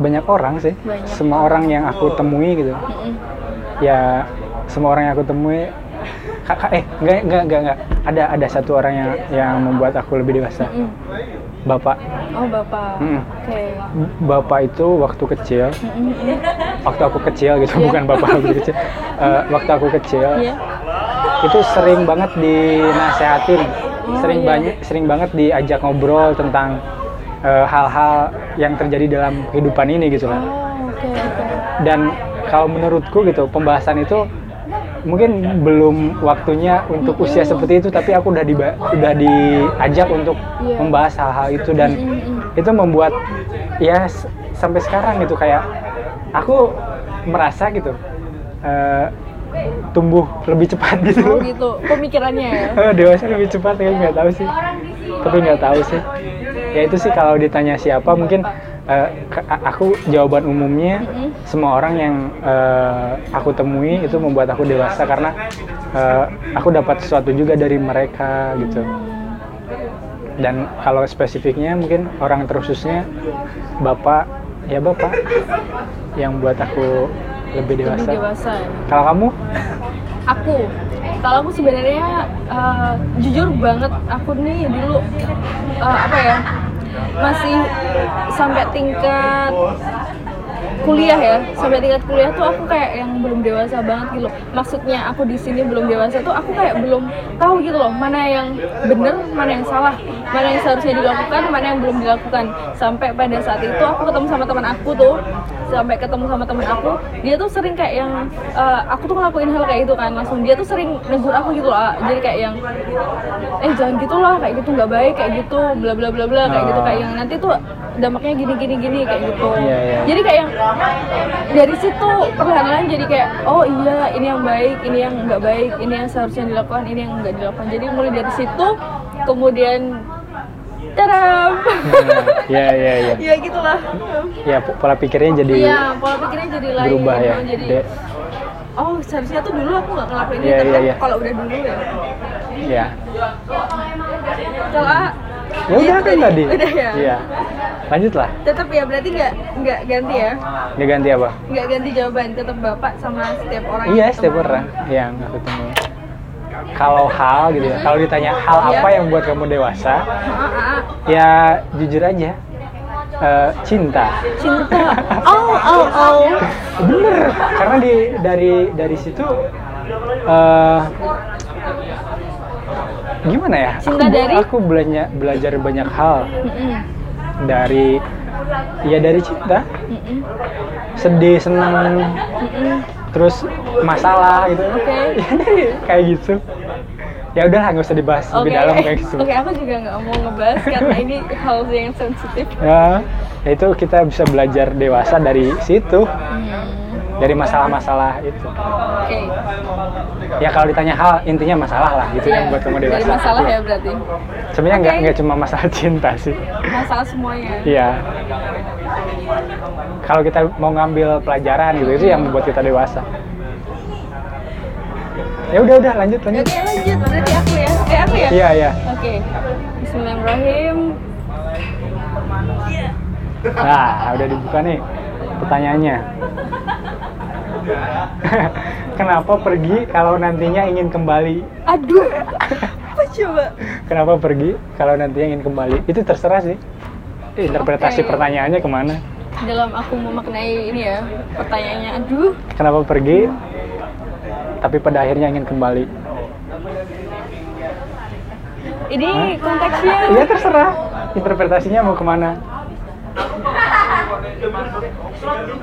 Speaker 1: banyak orang sih
Speaker 2: Banyak.
Speaker 1: semua orang yang aku temui gitu
Speaker 2: Mm-mm.
Speaker 1: ya semua orang yang aku temui kakak eh enggak enggak enggak enggak ada ada satu orang yang yang membuat aku lebih dewasa
Speaker 2: Mm-mm.
Speaker 1: bapak
Speaker 2: Mm. Oh bapak.
Speaker 1: Mm-mm.
Speaker 2: Oke.
Speaker 1: bapak itu waktu kecil
Speaker 2: Mm-mm.
Speaker 1: waktu aku kecil gitu
Speaker 2: Iya.
Speaker 1: bukan bapak aku kecil Eh, waktu aku kecil
Speaker 2: Iya.
Speaker 1: itu sering banget dinasehatin sering
Speaker 2: iya.
Speaker 1: banyak sering banget diajak ngobrol tentang eh, hal-hal yang terjadi dalam kehidupan ini gitu
Speaker 2: Oh
Speaker 1: lah
Speaker 2: oke oke.
Speaker 1: dan kalau menurutku gitu pembahasan itu mungkin belum waktunya untuk usia seperti itu tapi aku udah diba- udah diajak untuk
Speaker 2: Iya.
Speaker 1: membahas hal-hal itu dan
Speaker 2: Mm-mm.
Speaker 1: itu membuat ya s- sampai sekarang gitu kayak aku merasa gitu eh, tumbuh lebih cepat gitu
Speaker 2: Oh gitu pemikirannya ya.
Speaker 1: Eh, dewasa lebih cepat ya nggak tahu sih tapi nggak tahu sih ya itu sih kalau ditanya siapa mungkin eh, ke- a- aku jawaban umumnya
Speaker 2: Mm-mm.
Speaker 1: semua orang yang eh, aku temui itu membuat aku dewasa karena eh, aku dapat sesuatu juga dari mereka gitu
Speaker 2: Mm-hmm.
Speaker 1: dan kalau spesifiknya mungkin orang terkhususnya bapak ya bapak yang buat aku lebih
Speaker 2: Lebih
Speaker 1: dewasa,
Speaker 2: dewasa. ya.
Speaker 1: kalau kamu
Speaker 2: <laughs> Aku kalau aku sebenarnya eh, jujur banget aku nih dulu eh, apa ya masih sampai tingkat kuliah ya sampai tingkat kuliah tuh aku kayak yang belum dewasa banget gitu loh. maksudnya aku di sini belum dewasa tuh aku kayak belum tahu gitu loh mana yang bener mana yang salah mana yang seharusnya dilakukan mana yang belum dilakukan sampai pada saat itu aku ketemu sama teman aku tuh sampai ketemu sama teman aku dia tuh sering kayak yang eh, aku tuh ngelakuin hal kayak gitu kan langsung dia tuh sering negur aku gitu loh jadi kayak yang eh jangan gitu lah kayak gitu nggak baik kayak gitu bla bla bla bla kayak gitu kayak yang nanti tuh dampaknya gini gini gini kayak gitu
Speaker 1: Iya, iya.
Speaker 2: jadi kayak yang dari situ perlahan-lahan jadi kayak oh iya ini yang baik ini yang nggak baik ini yang seharusnya dilakukan ini yang nggak dilakukan jadi mulai dari situ kemudian
Speaker 1: <laughs>
Speaker 2: taram
Speaker 1: ya ya ya
Speaker 2: ya gitulah
Speaker 1: ya pola pikirnya jadi
Speaker 2: iya pola pikirnya jadi lain gitu.
Speaker 1: berubah ya
Speaker 2: jadi
Speaker 1: De-
Speaker 2: oh seharusnya tuh dulu aku nggak ngelakuin ini
Speaker 1: Iya,
Speaker 2: tapi
Speaker 1: iya, iya.
Speaker 2: kalau udah dulu ya
Speaker 1: ya
Speaker 2: kalau A,
Speaker 1: ya udah
Speaker 2: gitu
Speaker 1: kan tadi
Speaker 2: udah ya
Speaker 1: iya lanjutlah
Speaker 2: tetap ya berarti nggak nggak ganti ya
Speaker 1: dia ganti apa
Speaker 2: nggak ganti jawaban tetap bapak sama setiap orang
Speaker 1: iya
Speaker 2: yang
Speaker 1: setiap
Speaker 2: ketemu.
Speaker 1: orang yang aku temui kalau hal gitu ya kalau ditanya hal
Speaker 2: Iya.
Speaker 1: apa yang membuat kamu dewasa
Speaker 2: Ah, ah, ah.
Speaker 1: ya jujur aja eh, cinta <laughs>
Speaker 2: cinta oh oh oh
Speaker 1: bener karena di dari dari situ eh gimana ya
Speaker 2: Cinta
Speaker 1: aku,
Speaker 2: dari?
Speaker 1: aku belajar belajar banyak hal
Speaker 2: Mm-mm.
Speaker 1: dari ya dari cinta
Speaker 2: Mm-mm.
Speaker 1: sedih senang
Speaker 2: Mm-mm.
Speaker 1: terus masalah gitu
Speaker 2: Oke.
Speaker 1: kayak gitu ya udahlah nggak usah dibahas
Speaker 2: Oke,
Speaker 1: lebih dalam kayak gitu
Speaker 2: oke aku juga nggak mau ngebahas karena ini hal yang sensitif.
Speaker 1: ya ya itu kita bisa belajar dewasa dari situ
Speaker 2: Hmm,
Speaker 1: dari masalah-masalah itu
Speaker 2: Oke,
Speaker 1: ya kalau ditanya hal intinya masalah lah gitu
Speaker 2: Iya,
Speaker 1: yang buat kamu dewasa
Speaker 2: dari masalah ya berarti,
Speaker 1: sebenarnya nggak
Speaker 2: Oke.
Speaker 1: nggak cuma masalah cinta sih
Speaker 2: masalah semuanya.
Speaker 1: iya kalau kita mau ngambil pelajaran gitu itu yang membuat kita dewasa ya udah udah lanjut lanjut
Speaker 2: Oke lanjut berarti aku ya, eh aku ya.
Speaker 1: iya iya
Speaker 2: Oke, Bismillahirrahmanirrahim.
Speaker 1: nah udah dibuka nih pertanyaannya <laughs> kenapa pergi kalau nantinya ingin kembali
Speaker 2: Aduh, apa coba?
Speaker 1: kenapa pergi kalau nantinya ingin kembali itu terserah sih interpretasi
Speaker 2: Oke.
Speaker 1: pertanyaannya kemana
Speaker 2: Dalam aku memaknai ini ya pertanyaannya, aduh,
Speaker 1: kenapa pergi tapi pada akhirnya ingin kembali
Speaker 2: ini konteksnya.
Speaker 1: ya terserah interpretasinya mau kemana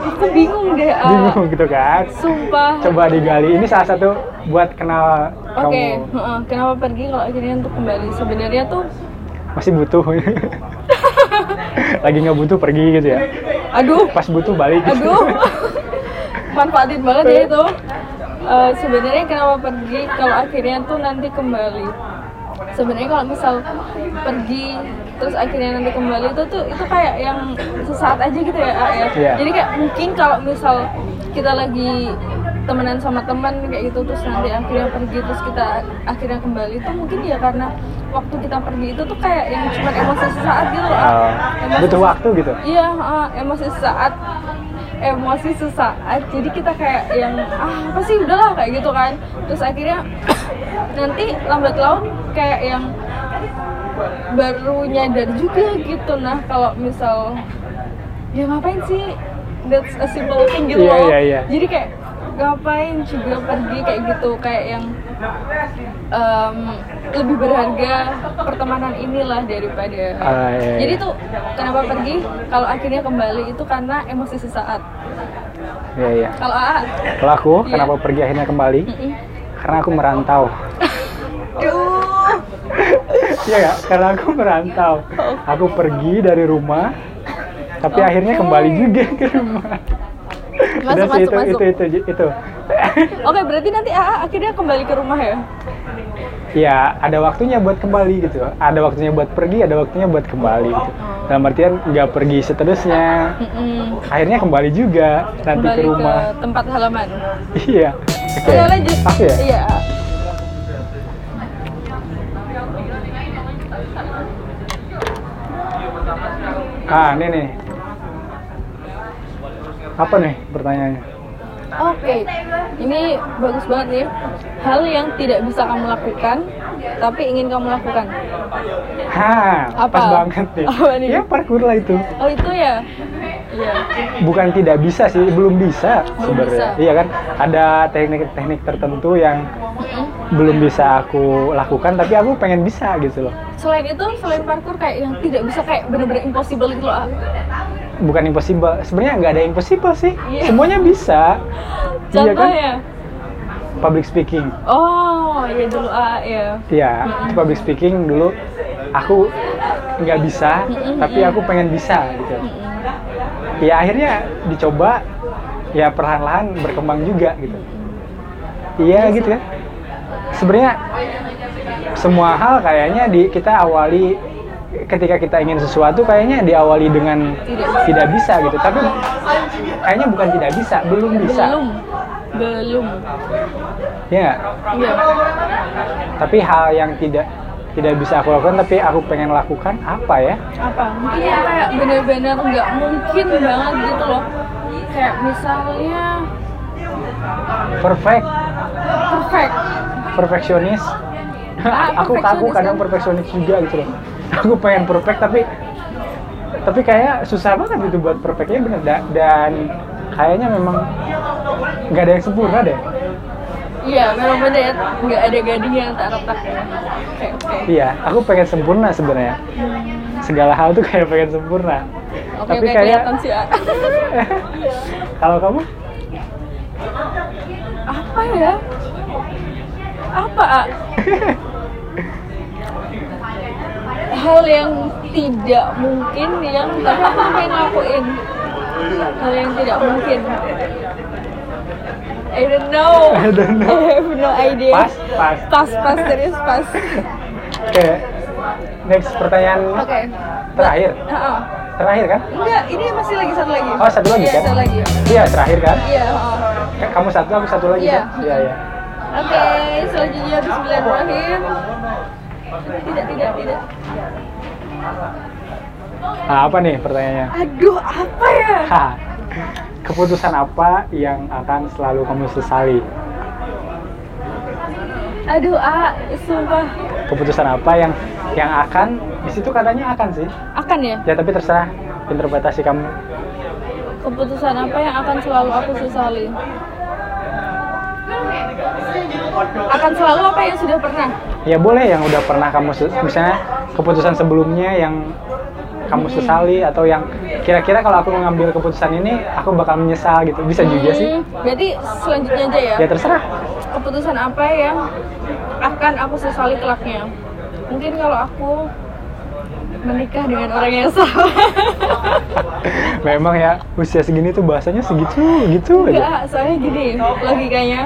Speaker 2: Aku bingung deh. ah.
Speaker 1: bingung gitu kan
Speaker 2: Sumpah.
Speaker 1: coba digali ini salah satu buat kenal
Speaker 2: Oke,
Speaker 1: kamu
Speaker 2: heeh. kenapa pergi kalau akhirnya untuk kembali? Sebenarnya tuh,
Speaker 1: masih
Speaker 2: <laughs>
Speaker 1: butuh lagi nggak butuh pergi gitu ya
Speaker 2: aduh,
Speaker 1: pas butuh balik <laughs> gitu.
Speaker 2: aduh, <laughs> manfaatin banget ya itu. Eh, sebenarnya kenapa pergi kalau akhirnya tuh nanti kembali? sebenarnya kalau misal pergi terus akhirnya nanti kembali itu tuh itu kayak yang sesaat aja gitu ya A, ya.
Speaker 1: Iya.
Speaker 2: jadi kayak mungkin kalau misal kita lagi temenan sama teman kayak gitu terus nanti akhirnya pergi terus kita akhirnya kembali itu mungkin ya karena waktu kita pergi itu tuh kayak yang cuma emosi sesaat gitu loh A.
Speaker 1: Oh,
Speaker 2: Emosi
Speaker 1: butuh
Speaker 2: sesaat.
Speaker 1: waktu gitu
Speaker 2: Iya, ah, emosi sesaat emosi sesaat jadi kita kayak yang ah apa sih udahlah kayak gitu kan terus akhirnya <coughs> nanti lambat laun kayak yang baru nyadar juga gitu nah kalau misal ya ngapain sih that's a simple thing gitu
Speaker 1: Iya,
Speaker 2: loh
Speaker 1: iya, iya.
Speaker 2: jadi kayak ngapain juga pergi kayak gitu kayak yang em, lebih berharga pertemanan inilah daripada
Speaker 1: Ah, iya, iya.
Speaker 2: jadi tuh kenapa pergi kalau akhirnya kembali itu karena emosi sesaat
Speaker 1: iya iya
Speaker 2: kalau AA
Speaker 1: kalau aku
Speaker 2: Iya.
Speaker 1: kenapa pergi akhirnya kembali
Speaker 2: mm-mm.
Speaker 1: karena aku merantau <laughs>
Speaker 2: Duh.
Speaker 1: iya nggak? karena aku merantau
Speaker 2: Oh.
Speaker 1: aku pergi dari rumah tapi
Speaker 2: Oke.
Speaker 1: akhirnya kembali juga ke rumah
Speaker 2: Oh. masuk
Speaker 1: sih,
Speaker 2: masuk
Speaker 1: itu,
Speaker 2: masuk
Speaker 1: itu itu itu
Speaker 2: oke berarti nanti AA akhirnya kembali ke rumah ya
Speaker 1: ya ada waktunya buat kembali gitu ada waktunya buat pergi ada waktunya buat kembali gitu
Speaker 2: Oh.
Speaker 1: dalam artian nggak pergi seterusnya
Speaker 2: Mm-mm.
Speaker 1: akhirnya kembali juga nanti
Speaker 2: kembali
Speaker 1: ke rumah <laughs>
Speaker 2: tempat halaman
Speaker 1: iya oke
Speaker 2: Oke, lanjut
Speaker 1: aku ya
Speaker 2: iya
Speaker 1: ah ini nih apa nih pertanyaannya
Speaker 2: Oke, ini bagus banget nih. Hal yang tidak bisa kamu lakukan, tapi ingin kamu lakukan.
Speaker 1: Hah,
Speaker 2: Apa?
Speaker 1: pas banget nih.
Speaker 2: Apa nih?
Speaker 1: Ya parkur lah itu.
Speaker 2: Oh itu ya? Iya.
Speaker 1: Bukan tidak bisa sih, belum bisa
Speaker 2: Belum
Speaker 1: sebenarnya.
Speaker 2: bisa.
Speaker 1: Iya kan? Ada teknik-teknik tertentu yang
Speaker 2: Mm-mm.
Speaker 1: belum bisa aku lakukan tapi aku pengen bisa gitu loh.
Speaker 2: Selain itu, selain parkour kayak yang tidak bisa kayak bener-bener impossible gitu
Speaker 1: Iya
Speaker 2: loh. ah.
Speaker 1: kan? Bukan impossible. Sebenarnya nggak ada impossible sih.
Speaker 2: Iya.
Speaker 1: Semuanya bisa. Iya
Speaker 2: Contoh
Speaker 1: kan?
Speaker 2: ya?
Speaker 1: Public speaking.
Speaker 2: Oh, iya dulu ah ya.
Speaker 1: Iya, public speaking dulu aku nggak bisa
Speaker 2: Mm-mm,
Speaker 1: tapi
Speaker 2: mm-mm.
Speaker 1: aku pengen bisa gitu.
Speaker 2: Mm-mm.
Speaker 1: ya akhirnya dicoba ya perlahan-lahan berkembang juga gitu iya gitu kan sebenarnya semua hal kayaknya di kita awali ketika kita ingin sesuatu kayaknya diawali dengan
Speaker 2: Tidak.
Speaker 1: tidak bisa gitu tapi kayaknya bukan tidak bisa belum bisa
Speaker 2: Belum, belum.
Speaker 1: ya nggak?
Speaker 2: Iya.
Speaker 1: tapi hal yang tidak tidak bisa aku lakukan tapi aku pengen lakukan apa ya
Speaker 2: apa mungkin yang kayak bener-bener nggak mungkin banget gitu loh kayak misalnya
Speaker 1: perfect
Speaker 2: perfect
Speaker 1: perfeksionis
Speaker 2: Ah,
Speaker 1: aku aku
Speaker 2: perfeksionis
Speaker 1: kadang
Speaker 2: kan?
Speaker 1: perfeksionis juga gitu loh aku pengen perfect tapi tapi kayak susah banget itu buat perfectnya bener da- dan kayaknya memang nggak ada yang sempurna deh
Speaker 2: Iya, memang benar ya. Nggak ada gading yang tak retak ya. Oke, oke.
Speaker 1: iya aku pengen sempurna sebenarnya segala hal tuh kayak pengen sempurna
Speaker 2: Oke,
Speaker 1: tapi
Speaker 2: oke,
Speaker 1: kayak
Speaker 2: kelihatan sih. ah.
Speaker 1: <laughs>
Speaker 2: <laughs>
Speaker 1: kalau kamu
Speaker 2: Apa ya? Apa,
Speaker 1: <laughs>
Speaker 2: ah? Hal yang tidak mungkin yang tapi aku pengen lakuin. Hal yang tidak mungkin. I don't
Speaker 1: <laughs>
Speaker 2: know.
Speaker 1: I don't know.
Speaker 2: <laughs> I have no idea.
Speaker 1: Pas, pas.
Speaker 2: Pas, pas, serius
Speaker 1: <laughs>
Speaker 2: pas.
Speaker 1: oke next pertanyaan
Speaker 2: Oke.
Speaker 1: terakhir
Speaker 2: Ah, ah.
Speaker 1: terakhir kan
Speaker 2: Enggak, ini masih lagi satu lagi.
Speaker 1: oh satu lagi
Speaker 2: Iya,
Speaker 1: kan
Speaker 2: satu lagi.
Speaker 1: iya terakhir kan
Speaker 2: Iya. oh.
Speaker 1: Eh, kamu satu aku satu lagi
Speaker 2: Iya.
Speaker 1: kan iya iya
Speaker 2: Oke, selanjutnya Bismillahirrahmanirrahim. Tidak, tidak, tidak.
Speaker 1: Nah, apa nih pertanyaannya?
Speaker 2: Aduh, apa ya?
Speaker 1: Hah, keputusan apa yang akan selalu kamu sesali?
Speaker 2: Aduh, ah, sumpah.
Speaker 1: Keputusan apa yang yang akan di situ katanya akan sih.
Speaker 2: Akan ya?
Speaker 1: Ya tapi terserah interpretasi kamu.
Speaker 2: Keputusan apa yang akan selalu aku sesali? Akan selalu apa yang sudah pernah?
Speaker 1: Ya boleh yang udah pernah kamu se- misalnya keputusan sebelumnya yang kamu sesali atau yang kira-kira kalau aku mengambil keputusan ini aku bakal menyesal gitu. Bisa juga sih.
Speaker 2: Hmm, Berarti selanjutnya aja ya?
Speaker 1: Ya terserah. <laughs>
Speaker 2: keputusan apa yang akan aku sesali kelaknya mungkin kalau aku menikah dengan orang yang salah <laughs>
Speaker 1: Memang ya usia segini tuh bahasanya segitu gitu aja.
Speaker 2: enggak soalnya gini logikanya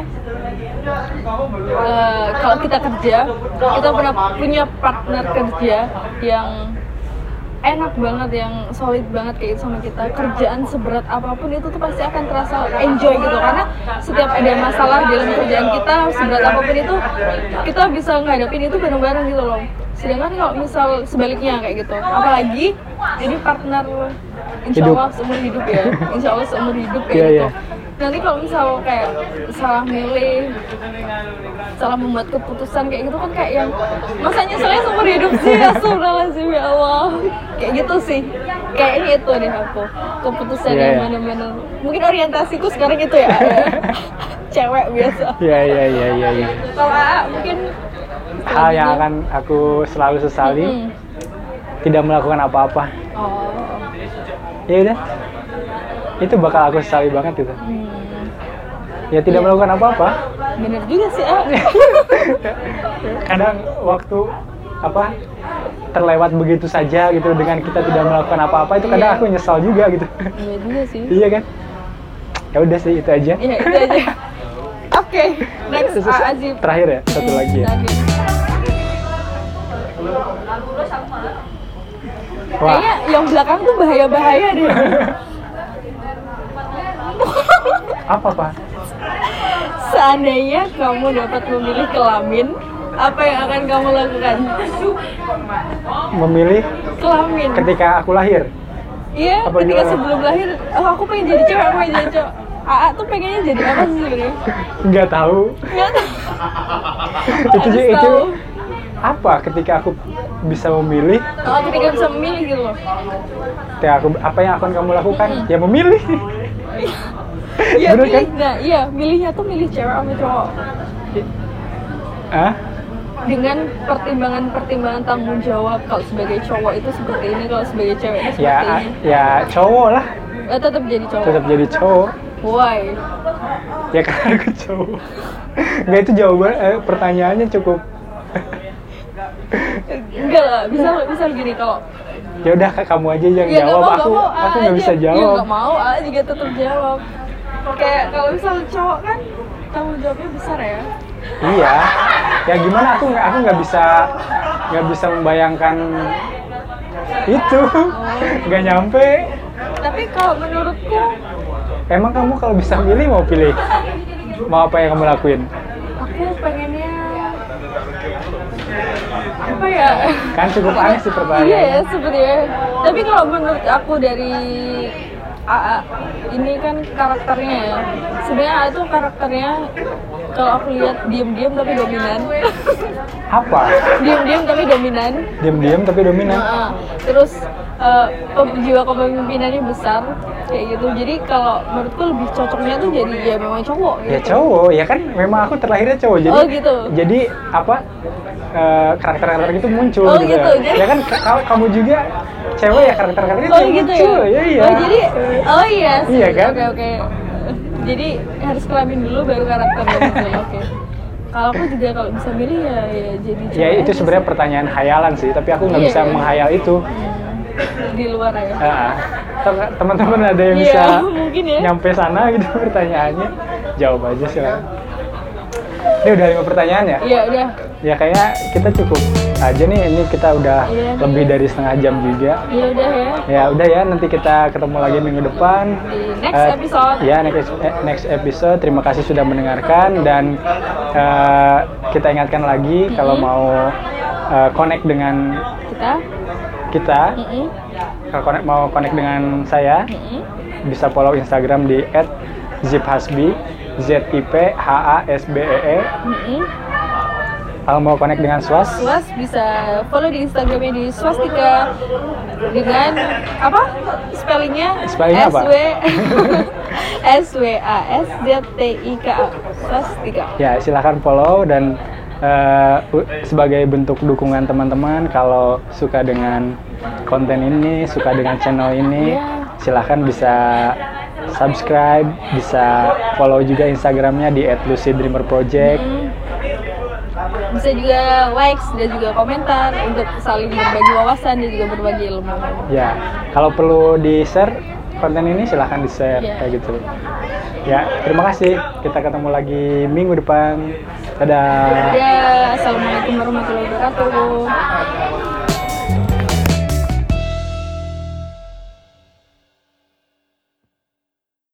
Speaker 2: eh, kalau kita kerja kita pernah punya partner kerja yang enak banget yang solid banget kayak gitu sama kita kerjaan seberat apapun itu tuh pasti akan terasa enjoy gitu karena setiap ada masalah dalam kerjaan kita seberat apapun itu kita bisa ngadepin itu bareng-bareng gitu loh sedangkan kalau misal sebaliknya kayak gitu apalagi jadi partner insya
Speaker 1: Hidup.
Speaker 2: Allah seumur hidup ya insya Allah seumur hidup kayak
Speaker 1: Iya,
Speaker 2: gitu
Speaker 1: iya.
Speaker 2: nanti kalau misal kayak salah milih salah membuat keputusan kayak gitu kan kayak yang masa nyeselnya seumur hidup sih ya sih ya Allah kayak gitu sih kayaknya itu deh aku keputusan
Speaker 1: Iya,
Speaker 2: yang
Speaker 1: iya.
Speaker 2: mana-mana mungkin orientasiku sekarang itu
Speaker 1: <laughs>
Speaker 2: ya cewek biasa
Speaker 1: Iya iya iya iya. iya.
Speaker 2: kalau AA mungkin
Speaker 1: Hal yang
Speaker 2: selanjutnya-
Speaker 1: akan aku selalu sesali
Speaker 2: Mm-mm.
Speaker 1: tidak melakukan apa-apa.
Speaker 2: oh
Speaker 1: Ya udah. Itu bakal aku sesali banget itu.
Speaker 2: hmm.
Speaker 1: Ya
Speaker 2: Iya.
Speaker 1: tidak melakukan apa-apa.
Speaker 2: bener juga sih
Speaker 1: <laughs>
Speaker 2: ah
Speaker 1: Kadang waktu apa terlewat begitu saja gitu dengan kita tidak melakukan apa-apa itu kadang
Speaker 2: Iya.
Speaker 1: aku nyesal juga gitu. <laughs>
Speaker 2: bener juga sih
Speaker 1: iya kan? Ya udah sih itu aja.
Speaker 2: ya itu aja oke next
Speaker 1: Terus-
Speaker 2: AA sih
Speaker 1: Terakhir ya, satu
Speaker 2: Hmm,
Speaker 1: lagi ya.
Speaker 2: terakhir.
Speaker 1: Wah,
Speaker 2: Kayaknya yang belakang tuh bahaya-bahaya deh.
Speaker 1: apa Pak?
Speaker 2: Seandainya kamu dapat memilih kelamin, apa yang akan kamu lakukan? <laughs>
Speaker 1: Memilih
Speaker 2: Kelamin.
Speaker 1: ketika aku lahir.
Speaker 2: Iya,
Speaker 1: apa
Speaker 2: ketika
Speaker 1: gimana?
Speaker 2: sebelum lahir, oh, aku pengen jadi cewek, aku pengen jadi cowok. AA tuh pengennya jadi apa sih sebenarnya?
Speaker 1: Nggak tahu.
Speaker 2: Nggak tahu.
Speaker 1: itu
Speaker 2: <laughs> Harus
Speaker 1: ju- itu
Speaker 2: tahu.
Speaker 1: apa ketika aku bisa memilih
Speaker 2: Oh, ketika bisa memilih gitu loh.
Speaker 1: ketika aku apa yang akan kamu lakukan
Speaker 2: Mm-mm.
Speaker 1: ya memilih
Speaker 2: Iya,
Speaker 1: Bener kan?
Speaker 2: milih. Nah, iya, milihnya tuh milih cewek sama cowok.
Speaker 1: ah
Speaker 2: Dengan pertimbangan-pertimbangan tanggung jawab kalau sebagai cowok itu seperti ini, kalau sebagai cewek itu
Speaker 1: ya
Speaker 2: seperti ini.
Speaker 1: ya cowok lah
Speaker 2: Eh, tetap jadi cowok.
Speaker 1: tetap jadi cowok
Speaker 2: Why?
Speaker 1: ya <laughs> karena aku cowok nggak itu jawaban eh, pertanyaannya cukup
Speaker 2: Enggak lah, bisa bisa gini kalau
Speaker 1: ya udah Kak, kamu aja yang jawab
Speaker 2: Ya, nggak mau, nggak
Speaker 1: aku
Speaker 2: mau,
Speaker 1: aku
Speaker 2: A
Speaker 1: nggak
Speaker 2: aja.
Speaker 1: bisa
Speaker 2: Ya
Speaker 1: jawab
Speaker 2: nggak mau, A juga tetap jawab. Kayak kalau misal cowok kan tanggung jawabnya besar ya.
Speaker 1: iya ya gimana aku nggak aku nggak bisa nggak bisa membayangkan itu
Speaker 2: Oh.
Speaker 1: nggak nyampe
Speaker 2: Tapi kalau menurutku
Speaker 1: emang kamu kalau bisa pilih mau pilih mau apa yang kamu lakuin
Speaker 2: aku pengennya apa ya?
Speaker 1: kan cukup aneh sih pertanyaannya
Speaker 2: Iya ya sebenarnya. Tapi kalau menurut aku dari AA ini kan karakternya ya. Sebenarnya AA tuh karakternya kalau aku lihat diam-diam tapi dominan. <laughs>
Speaker 1: apa
Speaker 2: diam-diam tapi dominan.
Speaker 1: diam-diam tapi dominan
Speaker 2: Heeh. terus eh, pem- jiwa kepemimpinannya besar kayak gitu. Jadi kalau menurutku lebih cocoknya tuh jadi ya memang cowok gitu.
Speaker 1: ya cowok ya kan memang aku terlahirnya cowok jadi
Speaker 2: Oh, gitu.
Speaker 1: jadi apa eh, karakter-karakter itu muncul
Speaker 2: Oh,
Speaker 1: gitu,
Speaker 2: gitu. Jadi-
Speaker 1: ya kan ka- kalau kamu juga cewek ya karakter-karakter itu
Speaker 2: Oh
Speaker 1: yang
Speaker 2: gitu
Speaker 1: muncul
Speaker 2: ya.
Speaker 1: ya iya
Speaker 2: Oh jadi oh iya. sih.
Speaker 1: Iya kan?
Speaker 2: Oke oke. Jadi harus kelamin dulu baru karakternya muncul. Oke. Kalau aku juga kalau bisa milih ya, ya jadi
Speaker 1: ya
Speaker 2: cewek
Speaker 1: itu
Speaker 2: aja
Speaker 1: sebenarnya pertanyaan khayalan sih tapi aku nggak
Speaker 2: Iya,
Speaker 1: bisa
Speaker 2: iya.
Speaker 1: menghayal itu
Speaker 2: sih. di luar ya.
Speaker 1: Ah, tau nggak, teman-teman ada yang
Speaker 2: Iya,
Speaker 1: bisa
Speaker 2: <laughs> mungkin ya.
Speaker 1: nyampe sana gitu <laughs> pertanyaannya jawab aja sih ini udah lima pertanyaan ya
Speaker 2: Iya udah.
Speaker 1: ya kayaknya kita cukup aja nih ini kita udah
Speaker 2: Iya.
Speaker 1: lebih dari setengah jam juga
Speaker 2: Ya udah ya.
Speaker 1: ya udah ya nanti kita ketemu lagi minggu depan
Speaker 2: Di next
Speaker 1: Eh,
Speaker 2: episode.
Speaker 1: ya next eh, next episode terima kasih sudah mendengarkan dan eh, kita ingatkan lagi kalau
Speaker 2: Mm-mm.
Speaker 1: mau eh, connect dengan
Speaker 2: Kita.
Speaker 1: kita
Speaker 2: Mm-mm.
Speaker 1: kalau connect, mau connect dengan saya
Speaker 2: Mm-mm.
Speaker 1: bisa follow Instagram di @ziphasbi Z I P H A S B E E
Speaker 2: Mm-mm.
Speaker 1: kalau mau connect dengan Swas
Speaker 2: Swas bisa follow di Instagramnya di swastika dengan apa spellingnya
Speaker 1: Spellingnya apa?
Speaker 2: S W S W A S Z T I K A swastika
Speaker 1: ya silahkan follow dan eh, u- sebagai bentuk dukungan teman-teman kalau suka dengan konten ini suka dengan channel ini
Speaker 2: Iya.
Speaker 1: silahkan bisa subscribe bisa follow juga instagramnya di @lucidreamerproject
Speaker 2: Hmm. bisa juga likes dan juga komentar untuk saling berbagi wawasan dan juga berbagi ilmu
Speaker 1: ya kalau perlu di share konten ini silahkan di share
Speaker 2: Iya.
Speaker 1: kayak gitu Ya, terima kasih. Kita ketemu lagi minggu depan. Dadah.
Speaker 2: Ya, assalamualaikum warahmatullahi wabarakatuh.